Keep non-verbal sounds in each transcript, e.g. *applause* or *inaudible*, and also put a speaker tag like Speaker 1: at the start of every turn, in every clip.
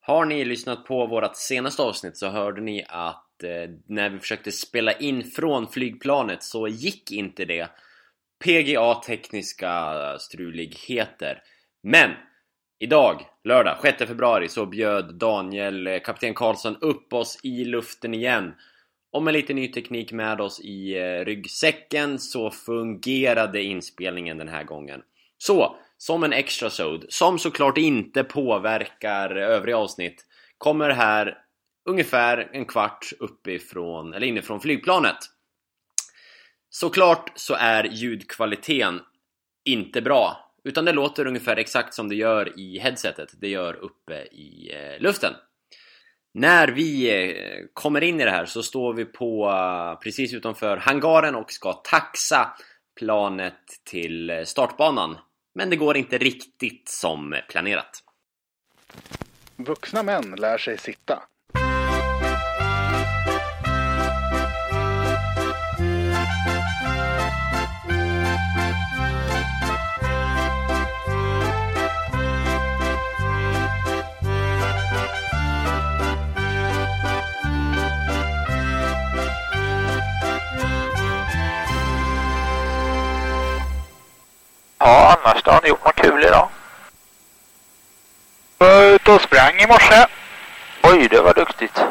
Speaker 1: Har ni lyssnat på vårt senaste avsnitt så hörde ni att eh, när vi försökte spela in från flygplanet så gick inte det. PGA tekniska struligheter. Men idag, lördag 6 februari, så bjöd Daniel, eh, kapten Karlsson, upp oss i luften igen. Och med lite ny teknik med oss i eh, ryggsäcken så fungerade inspelningen den här gången. Så, som en extra sod, som såklart inte påverkar övriga avsnitt, kommer här ungefär en kvart uppifrån, eller inifrån flygplanet. Såklart så är ljudkvaliteten inte bra, utan det låter ungefär exakt som det gör i headsetet, det gör uppe i eh, luften. När vi eh, kommer in i det här så står vi på eh, precis utanför hangaren och ska taxa planet till eh, startbanan. Men det går inte riktigt som planerat.
Speaker 2: Vuxna män lär sig sitta.
Speaker 3: Ja, annars då har ni gjort något kul idag?
Speaker 2: Jag var ute och sprang i morse.
Speaker 3: Oj, det var duktigt.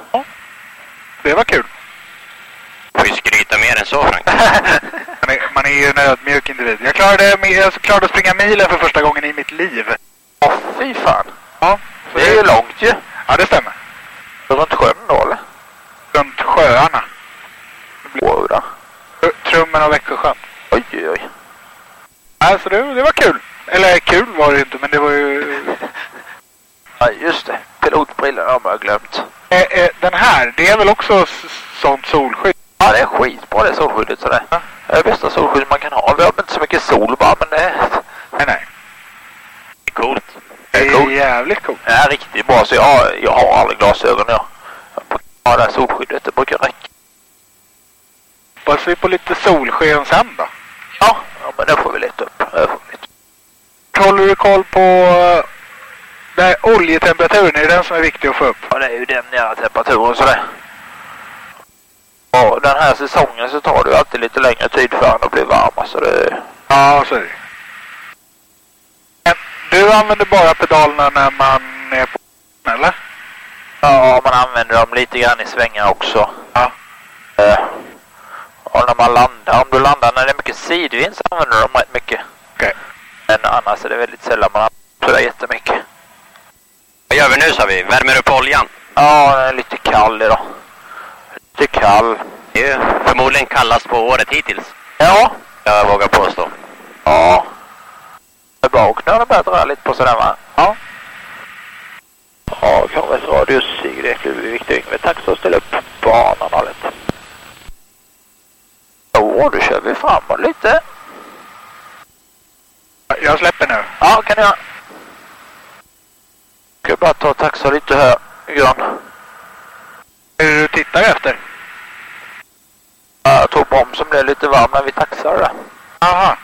Speaker 2: Det var kul.
Speaker 3: Får ju skryta mer än så,
Speaker 2: *laughs*
Speaker 3: Frank.
Speaker 2: Man är, man är ju en ödmjuk individ. Jag klarade, mi- jag klarade att springa milen för första gången i mitt liv.
Speaker 3: Åh, fy fan.
Speaker 2: Ja, så
Speaker 3: Det är ju långt ju.
Speaker 2: Ja, det stämmer.
Speaker 3: Runt sjön då, eller?
Speaker 2: Runt sjöarna.
Speaker 3: Wow, då.
Speaker 2: Ö, Trummen och Växjösjön.
Speaker 3: Oj, oj, oj.
Speaker 2: Alltså det, det var kul. Eller kul var det ju inte, men det var ju...
Speaker 3: Ja, just det. Pilotbrillorna har man ju glömt.
Speaker 2: Eh, eh, den här, det är väl också s- sånt solskydd?
Speaker 3: Ja, det är skitbra det solskyddet sådär.
Speaker 2: Ja.
Speaker 3: Det är det bästa solskydd man kan ha. Vi har väl inte så mycket sol bara, men det är...
Speaker 2: Nej, nej.
Speaker 3: Det är coolt.
Speaker 2: Det
Speaker 3: Det är
Speaker 2: är
Speaker 3: coolt.
Speaker 2: jävligt coolt.
Speaker 3: Det är riktigt bra, så jag, jag har aldrig glasögon jag. Jag har det här solskyddet, det brukar räcka.
Speaker 2: Hoppas vi på lite solsken sen då.
Speaker 3: Ja, ja men det får vi leta upp. Det får vi leta upp.
Speaker 2: Håller du koll på eh, där oljetemperaturen? Är det den som är viktig att få upp?
Speaker 3: Ja, det är ju den jävla temperaturen sådär. Ja, den här säsongen så tar det ju alltid lite längre tid för den att bli varm. Alltså det...
Speaker 2: Ja, så är det. Men du använder bara pedalerna när man är på eller?
Speaker 3: Ja, man använder dem lite grann i svängar också.
Speaker 2: Ja.
Speaker 3: Eh, och när man landar, om du landar när det är mycket sidvind så använder du dem rätt mycket.
Speaker 2: Okej.
Speaker 3: Men annars är det väldigt sällan man använder sådär jättemycket.
Speaker 4: Vad gör vi nu sa vi? Värmer upp oljan?
Speaker 3: Ja, den är lite kall idag. Lite kall.
Speaker 4: Det är ju förmodligen kallast på året hittills.
Speaker 3: Ja.
Speaker 4: Jag vågar påstå.
Speaker 3: Ja. Det är bra att knöla börjat röra lite på sådär va?
Speaker 2: Ja.
Speaker 3: Ja, Kramnäs Radio Sigrid Eklund, Viktor Yngve. Tack så ställ upp banan och lite. Jo, då kör vi framåt lite.
Speaker 2: Jag släpper nu.
Speaker 3: Ja, kan jag. Ska bara ta och taxa lite här, Grön.
Speaker 2: Är det du tittar efter?
Speaker 3: Ja, Jag tror bromsen blev lite varm när vi taxade där.
Speaker 2: Aha.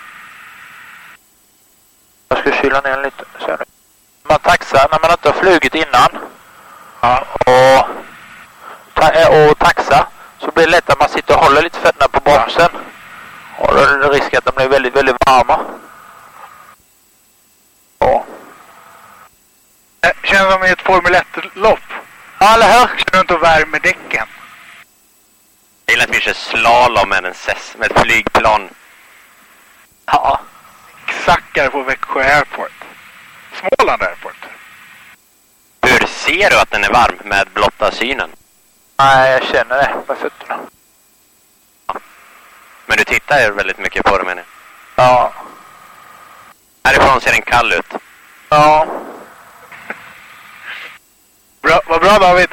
Speaker 3: Jag ska kyla ner den lite. Så nu. Man taxar när man inte har flugit innan.
Speaker 2: Ja.
Speaker 3: och, ta, eh, och taxa så blir det lätt att man sitter och håller lite fötterna på bromsen. Och då är det risk att de blir väldigt, väldigt varma. Ja,
Speaker 2: Det Eh, känns som i ett Formel 1-lopp.
Speaker 3: Ja, eller hur?
Speaker 2: Kör runt och värmer däcken.
Speaker 4: Jag gillar att vi kör slalom med, en ses, med ett flygplan.
Speaker 3: Ja.
Speaker 2: Sackar på Växjö Airport. Småland Airport.
Speaker 4: Hur ser du att den är varm med blotta synen?
Speaker 3: Nej, jag känner det med fötterna.
Speaker 4: Men du tittar ju väldigt mycket på det menar jag.
Speaker 3: Ja.
Speaker 4: Härifrån ser den kall ut.
Speaker 3: Ja.
Speaker 2: Bra, vad bra David!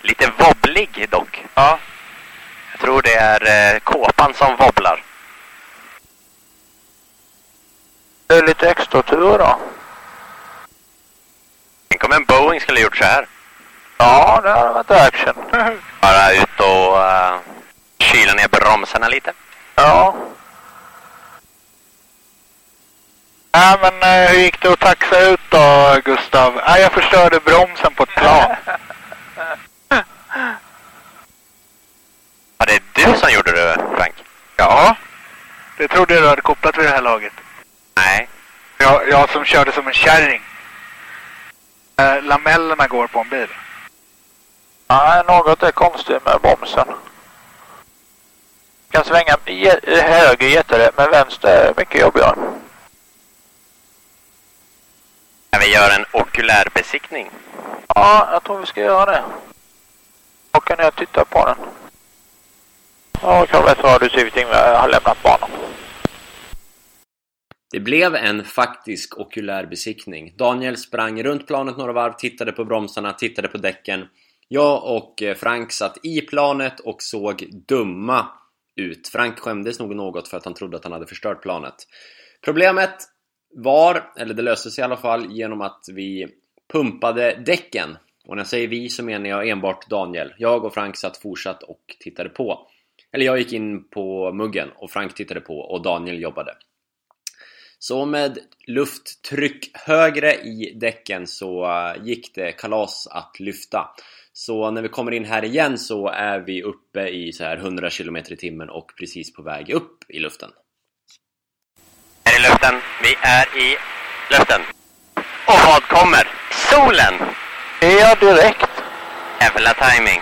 Speaker 4: Lite wobblig dock.
Speaker 2: ja.
Speaker 4: Jag tror det är eh, kåpan som wobblar.
Speaker 3: Det är lite extra tur idag.
Speaker 4: Tänk om en Boeing skulle ha gjort så här.
Speaker 3: Ja, det har
Speaker 2: *laughs*
Speaker 3: varit action.
Speaker 4: Bara ut och eh, kyla ner bromsarna lite.
Speaker 3: Ja.
Speaker 2: Nej, men eh, hur gick det att taxa ut då, Gustav? Nej, jag förstörde bromsen på ett
Speaker 3: *laughs*
Speaker 2: plan.
Speaker 3: Ja, det är du som gjorde det, Frank.
Speaker 2: Ja, det trodde jag du hade kopplat vid det här laget.
Speaker 3: Nej.
Speaker 2: Jag, jag som körde som en kärring. Eh, lamellerna går på en bil.
Speaker 5: Nej, något är konstigt med bromsen. Kan svänga je- höger jättelätt, men vänster är mycket jobbigare.
Speaker 3: Kan vi göra en okulärbesiktning?
Speaker 5: Ja, jag tror vi ska göra det. Åka ner och titta på den. Ja, Corvette Radio Civic har lämnat banan.
Speaker 1: Det blev en faktisk okulär besiktning. Daniel sprang runt planet några varv, tittade på bromsarna, tittade på däcken. Jag och eh, Frank satt i planet och såg dumma ut. Frank skämdes nog något för att han trodde att han hade förstört planet. Problemet var, eller det löste sig i alla fall, genom att vi pumpade däcken. Och när jag säger vi så menar jag enbart Daniel. Jag och Frank satt fortsatt och tittade på. Eller jag gick in på muggen och Frank tittade på och Daniel jobbade. Så med lufttryck högre i däcken så eh, gick det kalas att lyfta. Så när vi kommer in här igen så är vi uppe i så här 100 km i timmen och precis på väg upp i luften.
Speaker 3: Är i luften? Vi är i luften. Och vad kommer? Solen!
Speaker 5: Ja, direkt.
Speaker 3: Jävla timing.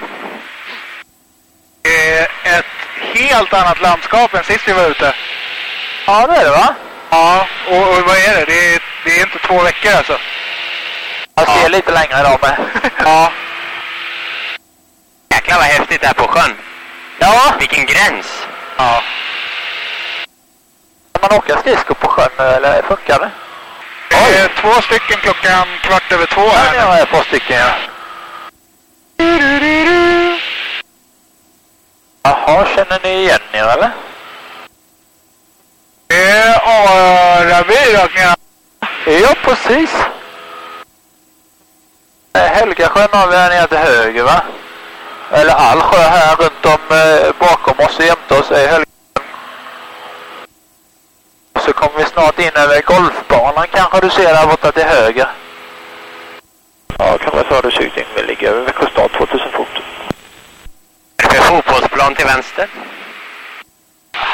Speaker 2: Det är ett helt annat landskap än sist vi var ute.
Speaker 5: Ja, det är det va?
Speaker 2: Ja, och, och vad är det? Det är, det är inte två veckor alltså.
Speaker 5: Jag ser lite längre idag med.
Speaker 2: Ja,
Speaker 3: Jäklar vad häftigt det här på sjön.
Speaker 5: Ja,
Speaker 3: Vilken gräns!
Speaker 2: ja.
Speaker 5: kan man åka skridskor på sjön eller funkar det?
Speaker 2: Det är två stycken klockan kvart över två
Speaker 5: Ja, det
Speaker 2: här.
Speaker 5: har jag ett par stycken ja. Jaha, känner ni igen er eller?
Speaker 2: Det är Araby rakt ner.
Speaker 5: Ja, precis. Eh, Helgasjön har vi här nere till höger va? Eller all sjö här runt om eh, bakom oss och jämte oss är Helgasjön. Så kommer vi snart in över golfbanan kanske du ser där borta till höger. Ja, kanske så har du sökt in. Vi ligger över Växjö stad 2000 fot.
Speaker 3: Är det för fotbollsplan till vänster?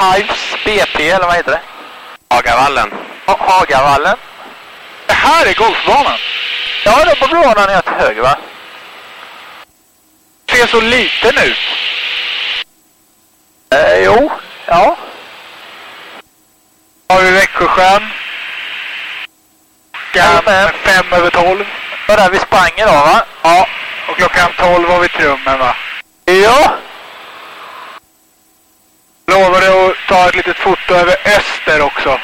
Speaker 5: Hives BP eller vad heter det?
Speaker 3: Hagavallen.
Speaker 5: Ha- Hagavallen.
Speaker 2: Det här är golfbanan.
Speaker 5: Ja, då på blåna ner till höger va?
Speaker 2: Ser så liten ut.
Speaker 5: Eh, jo, ja.
Speaker 2: Har vi Växjösjön. Klockan
Speaker 5: Jajamän.
Speaker 2: fem över tolv.
Speaker 5: Det var där vi sprang idag va?
Speaker 2: Ja, och klockan tolv var vi i Trummen va?
Speaker 5: Ja.
Speaker 2: Lovade att ta ett litet foto över öster också.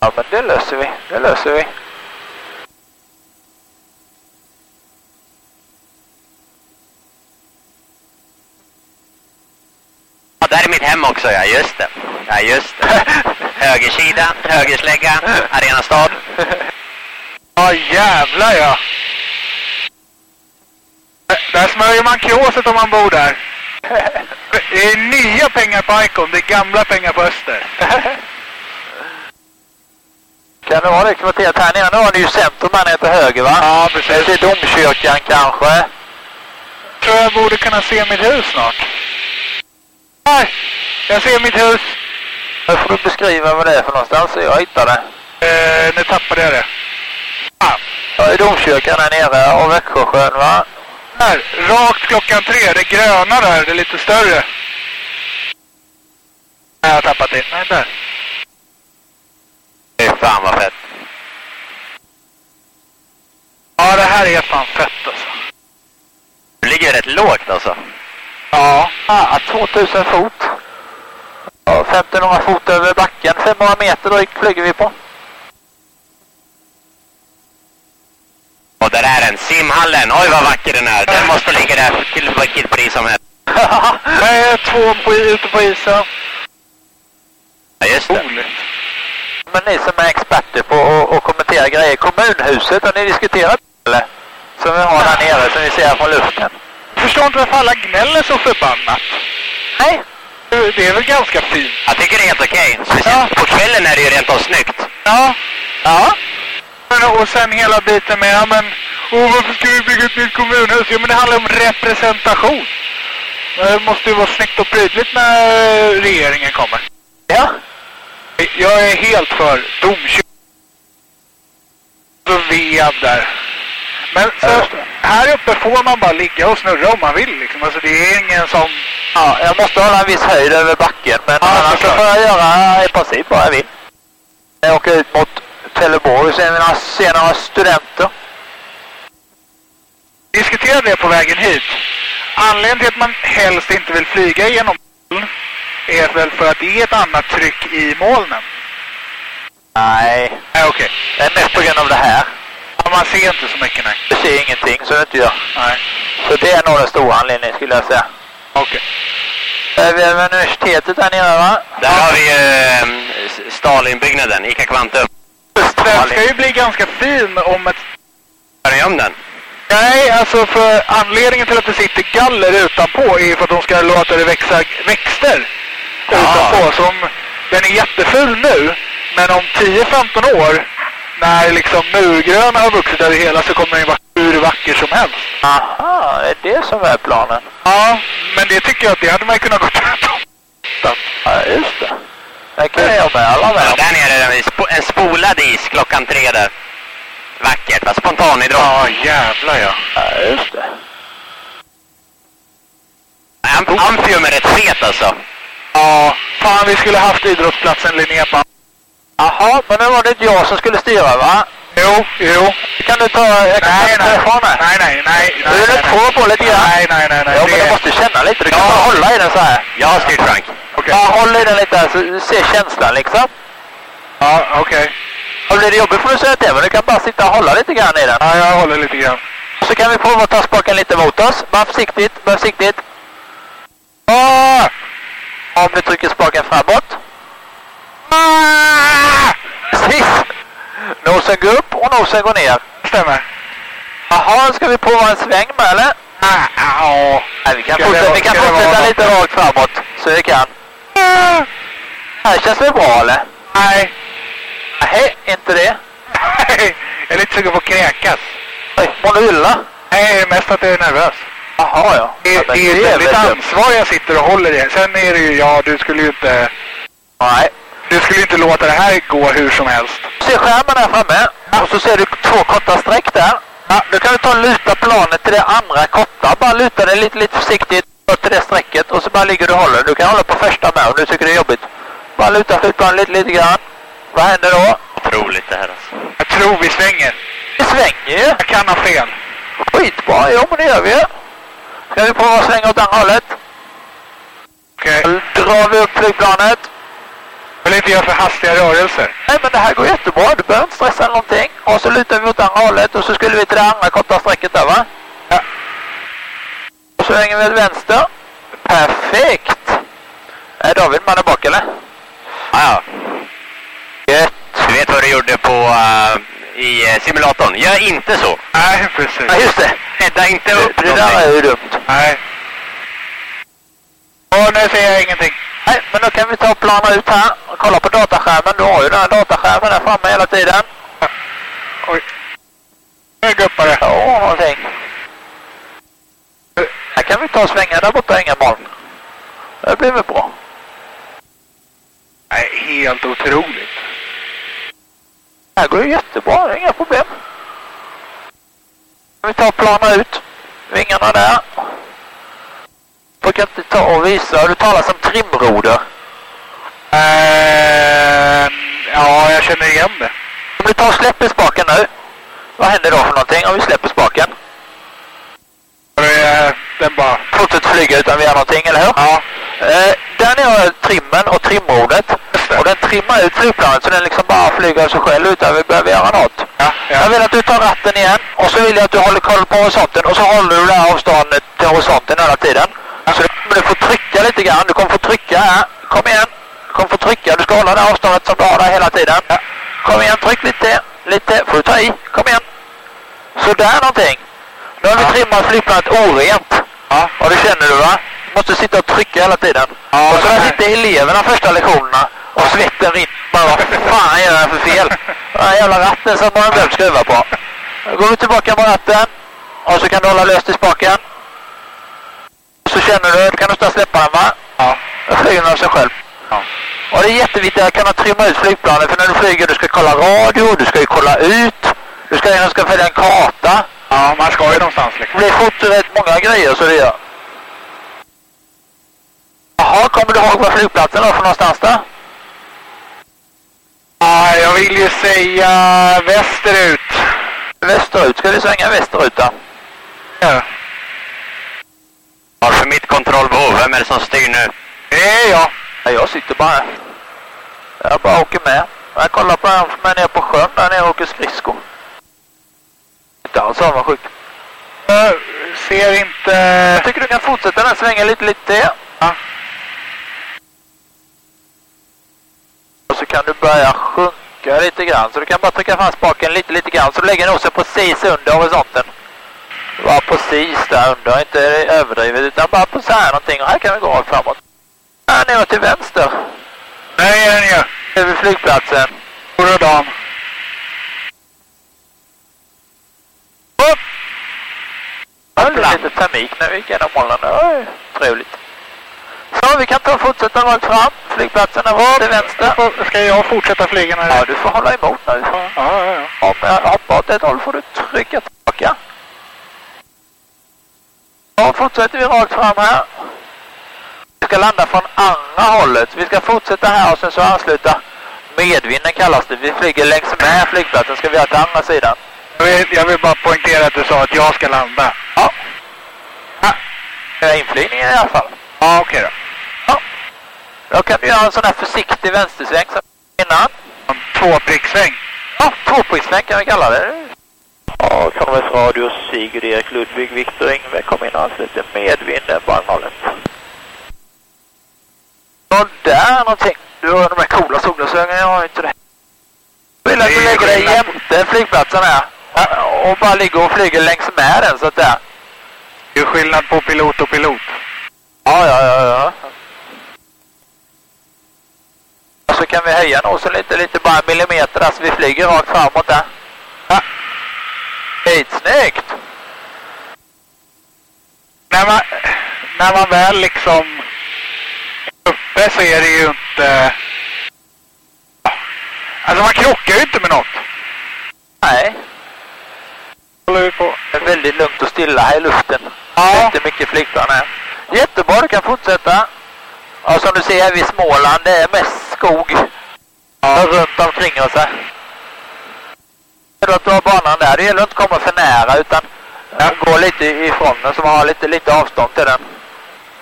Speaker 5: Ja, men det löser vi. Det löser vi.
Speaker 3: Ja, där är mitt hem också, ja just det. Ja, just det. Högersida, högerslägga, Arenastad.
Speaker 2: Ja, jävlar ja. Där- Där smörjer man kråset om man bor
Speaker 5: *laughs*
Speaker 2: där. Det är nya pengar på Icon, det är gamla pengar på Öster.
Speaker 5: Kan det vara det kvarteret här nere? Nu har ni ju centrum här nere till höger va?
Speaker 2: Ja,
Speaker 5: Det
Speaker 2: precis.
Speaker 5: är domkyrkan kanske?
Speaker 2: Jag tror jag borde kunna se mitt hus snart. Här! Jag ser mitt hus.
Speaker 5: Nu får du beskriva vad det är för någonstans så jag hittar det.
Speaker 2: Eh, nu tappade jag det.
Speaker 5: Ja, det är domkyrkan här nere och Växjösjön va?
Speaker 2: Här, rakt klockan tre. Det gröna där, det är lite större. Nej, jag har tappat det. Nej, där.
Speaker 3: Fy fan vad fett.
Speaker 2: Ja, det här är fan fett alltså.
Speaker 3: Du ligger rätt lågt alltså.
Speaker 2: Ja.
Speaker 5: Ah, 2000 fot. Ja, *laughs* 1500 fot över backen. 500 meter drygt flyger vi på.
Speaker 3: Och där är den, simhallen. Oj vad vacker den är. Den måste ligga där till vilket pris som helst.
Speaker 2: Det är två på, ute på isen.
Speaker 3: Ja, just det.
Speaker 2: Roligt.
Speaker 5: Men ni som är experter på att att kommentera grejer. Kommunhuset, har ni diskuterat det, eller? Som vi har där nere, som vi ser från luften.
Speaker 2: Förstår inte varför alla gnäller så förbannat.
Speaker 5: Nej,
Speaker 2: Det är väl ganska fint?
Speaker 3: Jag tycker det är helt okej. Speciellt på kvällen är det ju rent av snyggt.
Speaker 2: Ja.
Speaker 5: Ja.
Speaker 2: Men, och sen hela biten med, ja men, oh, varför ska vi bygga ett nytt kommunhus? Jo men det handlar om representation. Men Det måste ju vara snyggt och prydligt när eh, regeringen kommer.
Speaker 5: Ja.
Speaker 2: Jag är helt för domkyrkan. Och ved där. Men
Speaker 5: Ja,
Speaker 2: så,
Speaker 5: just det.
Speaker 2: här uppe får man bara ligga och snurra om man vill liksom. Alltså det är ingen som...
Speaker 5: ja. Jag måste hålla en viss höjd över backen. Men
Speaker 2: Ja,
Speaker 5: annars så
Speaker 2: såklart.
Speaker 5: får jag göra i princip vad jag vill. Jag åker ut mot Trelleborg och ser mina, ser några studenter.
Speaker 2: Diskutera det på vägen hit. Anledningen till att man helst inte vill flyga genom moln är väl för att det är ett annat tryck i molnen.
Speaker 5: Nej.
Speaker 2: Nej, okej.
Speaker 5: Det är mest på grund av det här.
Speaker 2: Ja, Man ser inte så mycket, nej.
Speaker 5: Jag ser ingenting så det inte jag.
Speaker 2: nej.
Speaker 5: Så det är nog den stora anledningen skulle jag säga.
Speaker 2: Okej.
Speaker 5: Är vi över universitetet där nere va?
Speaker 3: Där har vi ju Stalinbyggnaden, Ica Kvantum.
Speaker 2: Den ska ju bli ganska fin om ett...
Speaker 3: Hör ni om den?
Speaker 2: Nej, alltså för anledningen till att det sitter galler utanpå är ju för att de ska låta det växa växter
Speaker 3: Ja.
Speaker 2: utanpå. Som, den är jätteful nu, men om 10-15 år när liksom murgröna har vuxit över hela så kommer den vara hur vacker som helst.
Speaker 5: Aha, är det som är planen?
Speaker 2: Ja, men det tycker jag att det hade man ju kunnat gå *laughs* tvärtom.
Speaker 5: Ja, just det. Det kan jag med alla med
Speaker 3: Ja,
Speaker 5: om.
Speaker 3: där nere är det en spo- en spolad is klockan tre där. Vackert va? Spontanidrott.
Speaker 2: Ja, jävlar ja.
Speaker 5: Ja, just det.
Speaker 3: Am- Amfium är rätt fet alltså.
Speaker 2: Ja, fan vi skulle haft idrottsplatsen Linnea på.
Speaker 5: Jaha, men nu var det inte jag som skulle styra va?
Speaker 2: Jo, jo.
Speaker 5: Kan du ta... Jag kan
Speaker 2: Nej,
Speaker 5: ta
Speaker 2: nej.
Speaker 5: telefonen.
Speaker 2: Nej, nej, nej.
Speaker 5: Du vill inte få på lite grann?
Speaker 2: Nej, nej, nej. nej.
Speaker 5: Jo, men
Speaker 2: det...
Speaker 5: du måste känna lite. Du kan bara hålla i den så här.
Speaker 3: Jag har styrt Frank.
Speaker 2: Okej.
Speaker 5: Bara håll i den lite här så du ser känslan liksom.
Speaker 2: Ja, okej.
Speaker 5: Och blir det jobbigt får du säga till men du kan bara sitta och hålla lite grann i den.
Speaker 2: Ja, jag håller lite grann.
Speaker 5: Så kan vi prova att ta spaken lite mot oss. Var försiktigt, var försiktigt.
Speaker 2: Ah!
Speaker 5: Om du trycker spaken framåt.
Speaker 2: Ah!
Speaker 5: Precis! Nosen går upp och nosen går ner.
Speaker 2: Stämmer.
Speaker 5: Jaha, ska vi prova en sväng med eller?
Speaker 2: Ah, au.
Speaker 5: Nej, vi kan
Speaker 2: Ska
Speaker 5: fortsätta,
Speaker 2: det-
Speaker 5: vi kan
Speaker 2: ska det
Speaker 5: fortsätta
Speaker 2: vara-
Speaker 5: lite rakt framåt. Så vi kan.
Speaker 2: Ah!
Speaker 5: Här känns det bra eller?
Speaker 2: Nej.
Speaker 5: Nej, inte det.
Speaker 2: jag är lite sugen på att kräkas.
Speaker 5: Oj, mår du illa?
Speaker 2: Nej, det är mest att jag är nervös.
Speaker 5: Jaha ja.
Speaker 2: Det,
Speaker 5: Ja,
Speaker 2: det
Speaker 5: men
Speaker 2: är ju
Speaker 5: vet
Speaker 2: väldigt
Speaker 5: du.
Speaker 2: ansvar jag sitter och håller i. Sen är det ju, ja, du skulle ju inte...
Speaker 5: Nej.
Speaker 2: Du skulle ju inte låta det här gå hur som helst.
Speaker 5: Du ser skärmen där framme. Och så ser du två korta streck där. Ja, då kan du ta och luta planet till det andra korta. Bara luta det lite, lite försiktigt upp till det strecket och så bara ligger du och håller. Du kan hålla på första med om du tycker det är jobbigt. Bara luta flygplanet lite, lite grann. Vad händer då?
Speaker 3: Otroligt det här alltså.
Speaker 2: Jag tror vi svänger.
Speaker 5: Det svänger ju.
Speaker 2: Jag kan ha fel.
Speaker 5: Skitbra. Jo, men det gör vi ju. Ska vi prova att svänga åt andra hållet?
Speaker 2: Okej.
Speaker 5: Då drar vi upp flygplanet.
Speaker 2: Jag vill inte göra för hastiga rörelser.
Speaker 5: Nej, men det här går jättebra. Du behöver inte stressa eller någonting. Och så lutar vi åt andra hållet och så skulle vi till det andra korta strecket där, va?
Speaker 2: Ja.
Speaker 5: Och så hänger vi åt vänster. Perfekt! Är David man är bak, eller?
Speaker 3: Ja, ja.
Speaker 5: Gött!
Speaker 3: Du vet vad du gjorde på eh, i eh, simulatorn. Gör inte så.
Speaker 2: Nej, precis.
Speaker 5: Ja, just det.
Speaker 3: Hädda inte
Speaker 5: Det,
Speaker 3: upp
Speaker 5: det där är
Speaker 3: någonting.
Speaker 5: ju dumt.
Speaker 2: Nej. Åh, nu ser jag ingenting.
Speaker 5: Nej, men då kan vi ta och plana ut här och kolla på dataskärmen. Du har ju den här dataskärmen där framme hela tiden.
Speaker 2: Oj. Nu guppar det.
Speaker 5: Ja, någonting. Här kan vi ta och svänga där borta, Ängelholm. Det blir väl bra.
Speaker 2: Nej, helt otroligt.
Speaker 5: Det här går ju jättebra, det är inga problem. Vi tar och planar ut vingarna där. Brukar inte ta och visa. Du talar som trimroder.
Speaker 2: Eh, ja, jag känner igen det.
Speaker 5: Om du tar och släpper spaken nu. Vad händer då för någonting om vi släpper spaken?
Speaker 2: Och det är- eh, Den bara...
Speaker 5: Fortsätter flyga utan vi gör någonting, eller hur?
Speaker 2: Ja.
Speaker 5: Eh, där nere har trimmen och trimrodret.
Speaker 2: Just det.
Speaker 5: Och den trimmar ut flygplanet så den liksom bara flyger av sig själv utan vi behöver göra något.
Speaker 2: Ja,
Speaker 5: Jag
Speaker 2: ja.
Speaker 5: vill att du tar ratten igen och så vill jag att du håller koll på horisonten och så håller du det här avståndet till horisonten hela tiden. Så du kommer få trycka lite grann. Du kommer få trycka här. Kom igen. Du kommer få trycka. Du ska hålla det här avståndet som du har där hela tiden. Kom igen, tryck lite. Lite. Får du ta i. Kom igen. Sådär någonting. Nu har vi trimmat flygplanet orent.
Speaker 2: Ja.
Speaker 5: Och det känner du va? Du måste sitta och trycka hela tiden.
Speaker 2: Ja,
Speaker 5: och så
Speaker 2: det
Speaker 5: där
Speaker 2: här-
Speaker 5: sitter eleverna första lektionerna och svetten rinner Man bara, vad fan gör jag för fel? Den här jävla ratten som man har glömt skruva på. Då går vi tillbaka med ratten. Och så kan du hålla löst i spaken. Så känner du, då kan du snart släppa den va?
Speaker 2: Ja.
Speaker 5: Då flyger den av sig själv.
Speaker 2: Ja.
Speaker 5: Och det är jätteviktigt att kunna trimma ut flygplanet. För när du flyger, du ska kolla radio, du ska ju kolla ut. Du ska, du ska följa en karta.
Speaker 2: ja, man ska ju någonstans
Speaker 5: Det
Speaker 2: liksom.
Speaker 5: blir fort rätt många grejer så det gör. Jaha, kommer du ihåg var flygplatsen var för någonstans då?
Speaker 2: Ja, jag vill ju säga västerut.
Speaker 5: Västerut, ska du svänga västerut då?
Speaker 2: Ja.
Speaker 3: Varför mitt kontrollbehov? Vem är det som styr nu?
Speaker 2: Det är jag.
Speaker 5: Ja, jag sitter bara Jag bara åker med. Jag kollar på honom som är nere på sjön där nere och åker skridskor. Inte alls avundsjuk.
Speaker 2: Jag ser inte...
Speaker 5: Jag tycker du kan fortsätta den här svängen lite, lite till.
Speaker 2: Ja.
Speaker 5: Och så kan du börja sjunka lite grann. Så du kan bara trycka fram spaken lite, lite grann. Så du lägger nosen precis under horisonten. Bara precis där under. Inte överdrivet, utan bara på så här någonting. Och här kan vi gå rakt framåt. Här nere till vänster.
Speaker 2: Där är den ju.
Speaker 5: Över flygplatsen.
Speaker 2: Stora dam. Upp!
Speaker 5: Det var lite panik när vi gick genom molnen. Det var ju trevligt. Så, vi kan ta och fortsätta rakt fram. Flygplatsen är rakt till vänster.
Speaker 2: Ska jag fortsätta flyga när
Speaker 5: Ja, du får hålla emot nu.
Speaker 2: Ja, ja, ja.
Speaker 5: Om jag hoppar åt ett håll får du trycka tillbaka. Ja, fortsätter vi rakt fram här. Vi ska landa från andra hållet. Vi ska fortsätta här och sen så ansluta medvinden kallas det. Vi flyger längs med flygplatsen ska vi göra till andra sidan.
Speaker 2: Jag vill, jag vill bara poängtera att du sa att jag ska landa.
Speaker 5: Ja. Ja, det är inflygningen Eh, i alla fall.
Speaker 2: Ja, okej då.
Speaker 5: Då kan du göra en sån här försiktig vänstersväng som innan.
Speaker 2: En tvåpricksväng.
Speaker 5: Ja, tvåprissväng kan vi kalla det. Ja, Kronobergs Radio, Sigurd, Erik, Ludvig, Viktor, Ingve kom in och anslöt medvinden på anhållet. Ja, där någonting. Du har de här coola solglasögonen, jag har inte det. Jag vill att du
Speaker 2: Det är
Speaker 5: lägger dig
Speaker 2: skillnad.
Speaker 5: jämte flygplatsen här. Ja, Och bara ligger och flyger längs med den så att där.
Speaker 2: Det är skillnad på pilot och pilot.
Speaker 5: Ja, ja, ja, ja. Och så kan vi höja nosen lite, lite bara en millimeter där så vi flyger rakt framåt där. Ja. Skitsnyggt!
Speaker 2: När man, när man väl liksom är uppe så är det ju inte... Alltså man krockar ju inte med något.
Speaker 5: Nej,
Speaker 2: Håller vi på.
Speaker 5: det är väldigt lugnt och stilla här i luften. Det är
Speaker 2: Ja,
Speaker 5: inte mycket flygplan här. Jättebra, du kan fortsätta. Ja, som du ser här vid Småland, det är mest skog. Ja. Runt omkring oss här. Det gäller att dra banan där. Det gäller att inte komma för nära utan gå lite ifrån den så man har lite, lite avstånd till den.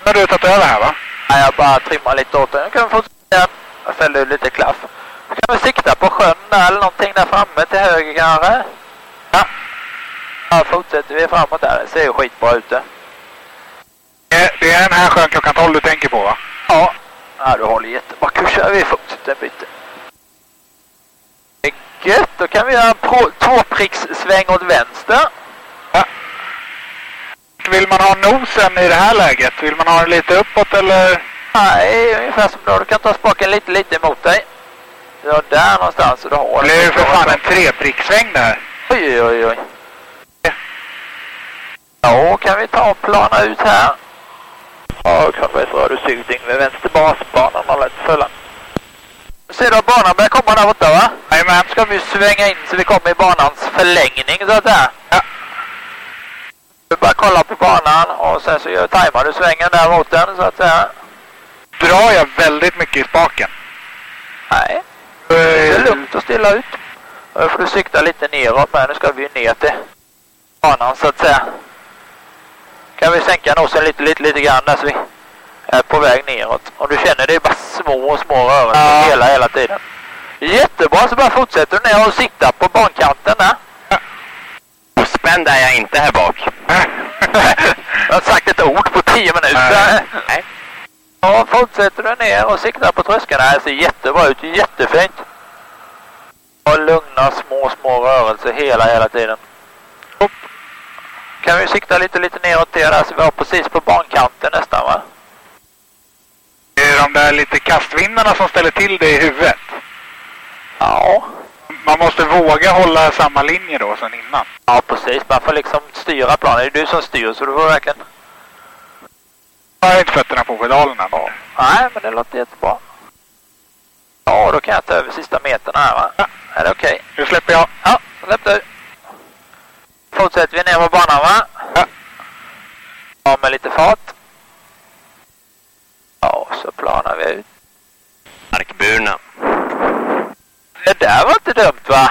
Speaker 2: nu har du tagit över här va?
Speaker 5: Nej, jag bara trimmar lite åt den. Jag kan fortsätta igen. Jag fällde ut lite klaff. Så kan vi sikta på sjön där eller någonting där framme till höger kanske. Ja. Ja, fortsätter vi framåt där. Det ser ju skitbra ut eh. det.
Speaker 2: Det- Det är den här sjön klockan 12 du tänker på va?
Speaker 5: Ja. Ja, du håller jättebra kurs. här. Vi fortsätter en bit. Det är Gött, då kan vi göra en pro- tvåprickssväng åt vänster.
Speaker 2: Vill man ha nosen i det här läget? Vill man ha den lite uppåt eller?
Speaker 5: Nej, ungefär som då. Du kan ta spaken lite, lite emot dig. Ja, där någonstans. och Då har
Speaker 2: Det
Speaker 5: du
Speaker 2: är ju för fan en trepricksväng där.
Speaker 5: Oj, oj, oj. Ja, kan vi ta och plana ut här? Ja, Kronobergs Radio Syding vid vänster basbanan har lätt följa. Ser du att banan börjar komma där borta va?
Speaker 2: Jajamän.
Speaker 5: Ska vi svänga in så vi kommer i banans förlängning så att säga.
Speaker 2: Ja.
Speaker 5: Du bara kolla på banan och sen så gör- tajmar du svängen där mot den så att säga.
Speaker 2: Drar jag väldigt mycket i spaken?
Speaker 5: Nej, det är
Speaker 2: Eh, *laughs*
Speaker 5: lugnt och stilla ut. Nu får du sikta lite neråt men nu ska vi ju ner till banan så att säga. Kan vi sänka nosen lite, lite, lite grann där så vi är på väg neråt. Om du känner det är bara små, små rörelser
Speaker 2: Ja.
Speaker 5: hela, hela tiden. Jättebra, så bara fortsätter du ner och sikta på bankanten
Speaker 2: *laughs*
Speaker 5: där.
Speaker 3: Ospänd är jag inte här bak.
Speaker 5: Jag har inte sagt ett ord på tio minuter.
Speaker 2: Nej.
Speaker 3: Eh, Nej.
Speaker 5: Ja, fortsätter du ner och siktar på tröskeln. Det här ser jättebra ut. Jättefint. Och lugna små, små rörelser hela, hela tiden. Upp. Kan vi sikta lite, lite neråt det där så vi har precis på bankanten nästan va?
Speaker 2: Det är de där lite kastvindarna som ställer till det i huvudet.
Speaker 5: Ja.
Speaker 2: Man måste våga hålla samma linje då som innan.
Speaker 5: Ja, precis. Man får liksom styra planen. Det är du som styr, så du får verkligen...
Speaker 2: Jag har inte fötterna på pedalerna. Ja.
Speaker 5: Nej, men det låter jättebra. Ja, då kan jag ta över sista meterna här, va? Ja. Är det okej?
Speaker 2: Nu släpper jag.
Speaker 5: Ja, släpp du. Fortsätter vi ner på banan, va?
Speaker 2: Ja.
Speaker 5: Ja, med lite fart. Ja, så planar vi ut.
Speaker 3: Markburna.
Speaker 5: Det där var inte dumt, va?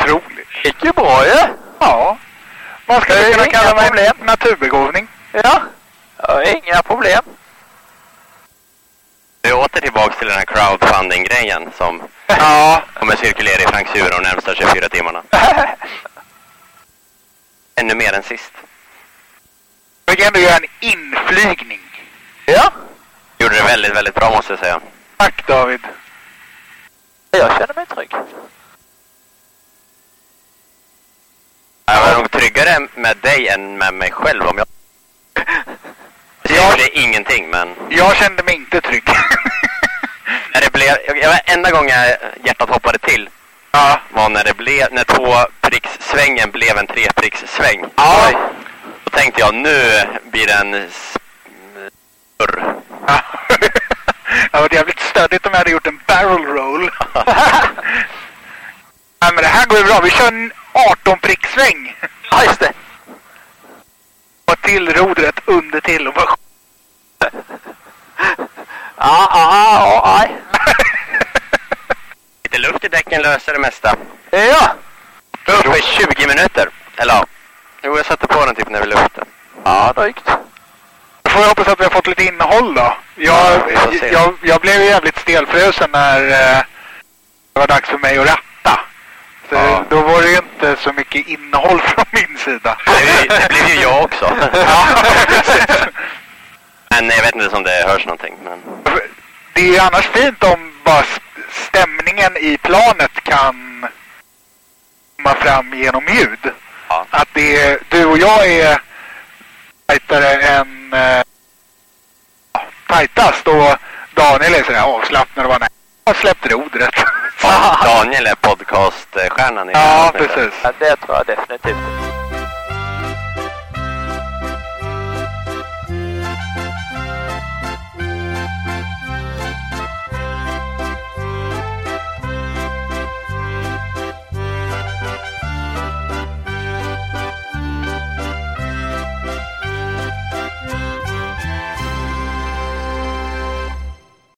Speaker 2: Otroligt.
Speaker 5: gick ju bra ju.
Speaker 2: Ja. Man
Speaker 5: Det är
Speaker 2: skulle kunna
Speaker 5: inga
Speaker 2: kalla mig
Speaker 5: problem.
Speaker 2: en naturbegåvning.
Speaker 5: Ja. ja inga problem.
Speaker 3: Vi är åter tillbaks till den här crowdfunding-grejen som
Speaker 5: Ja.
Speaker 3: kommer cirkulera i Franks huvud de närmsta 24 timmarna. Ännu mer än sist.
Speaker 2: *laughs* Vi kan ändå göra en inflygning.
Speaker 5: ja.
Speaker 3: Gjorde det väldigt, väldigt bra måste jag säga.
Speaker 2: Tack David.
Speaker 5: Jag känner mig trygg.
Speaker 3: Jag var nog tryggare med dig än med mig själv om jag... Jag gjorde ingenting men...
Speaker 2: Jag kände mig inte trygg. *laughs*
Speaker 3: När det blev... jag- Jag, enda gången hjärtat hoppade till
Speaker 2: ja.
Speaker 3: var när det blev... När tvåprickssvängen blev en treprickssväng.
Speaker 2: Ja.
Speaker 3: Oj. Då tänkte jag nu blir det en... Spurr.
Speaker 2: Ja. *laughs* Det hade varit jävligt stödigt om jag hade gjort en barrel roll. *laughs* Nej men det här går ju bra. Vi kör en 18 pricksväng.
Speaker 5: *laughs* Ja, just det.
Speaker 2: Och till rodret under till och bara...
Speaker 5: *laughs* Ja, ja, ja, nej.
Speaker 2: *laughs*
Speaker 3: Lite luft i däcken löser det mesta.
Speaker 5: Ja.
Speaker 3: Vi var uppe i 20 minuter. Eller ja. Jo, jag satte på den typ när vi luftade.
Speaker 5: Ja, drygt.
Speaker 2: Då får jag hoppas att vi har fått lite innehåll då. Jag,
Speaker 3: vi får se.
Speaker 2: jag, jag blev ju jävligt stelfrusen när eh, det var dags för mig att ratta. Så
Speaker 3: Ja.
Speaker 2: Då var det ju inte så mycket innehåll *laughs* från min sida.
Speaker 3: Det blev ju- det blev ju jag också.
Speaker 2: Ja,
Speaker 3: *laughs*
Speaker 2: precis.
Speaker 3: Men jag vet inte om det hörs någonting.
Speaker 2: *laughs*
Speaker 3: Men...
Speaker 2: det är ju annars fint om bara s- stämningen i planet kan komma fram genom ljud.
Speaker 3: Ja.
Speaker 2: Att det är, du och jag är tajtare än eh, ja, tajtast och Daniel är sådär avslappnad och bara nej, jag släppte rodret.
Speaker 3: Ja, Daniel är podcaststjärnan i det
Speaker 2: *laughs*
Speaker 3: här
Speaker 2: ja,
Speaker 3: avsnittet.
Speaker 2: precis.
Speaker 5: Ja, det tror jag definitivt.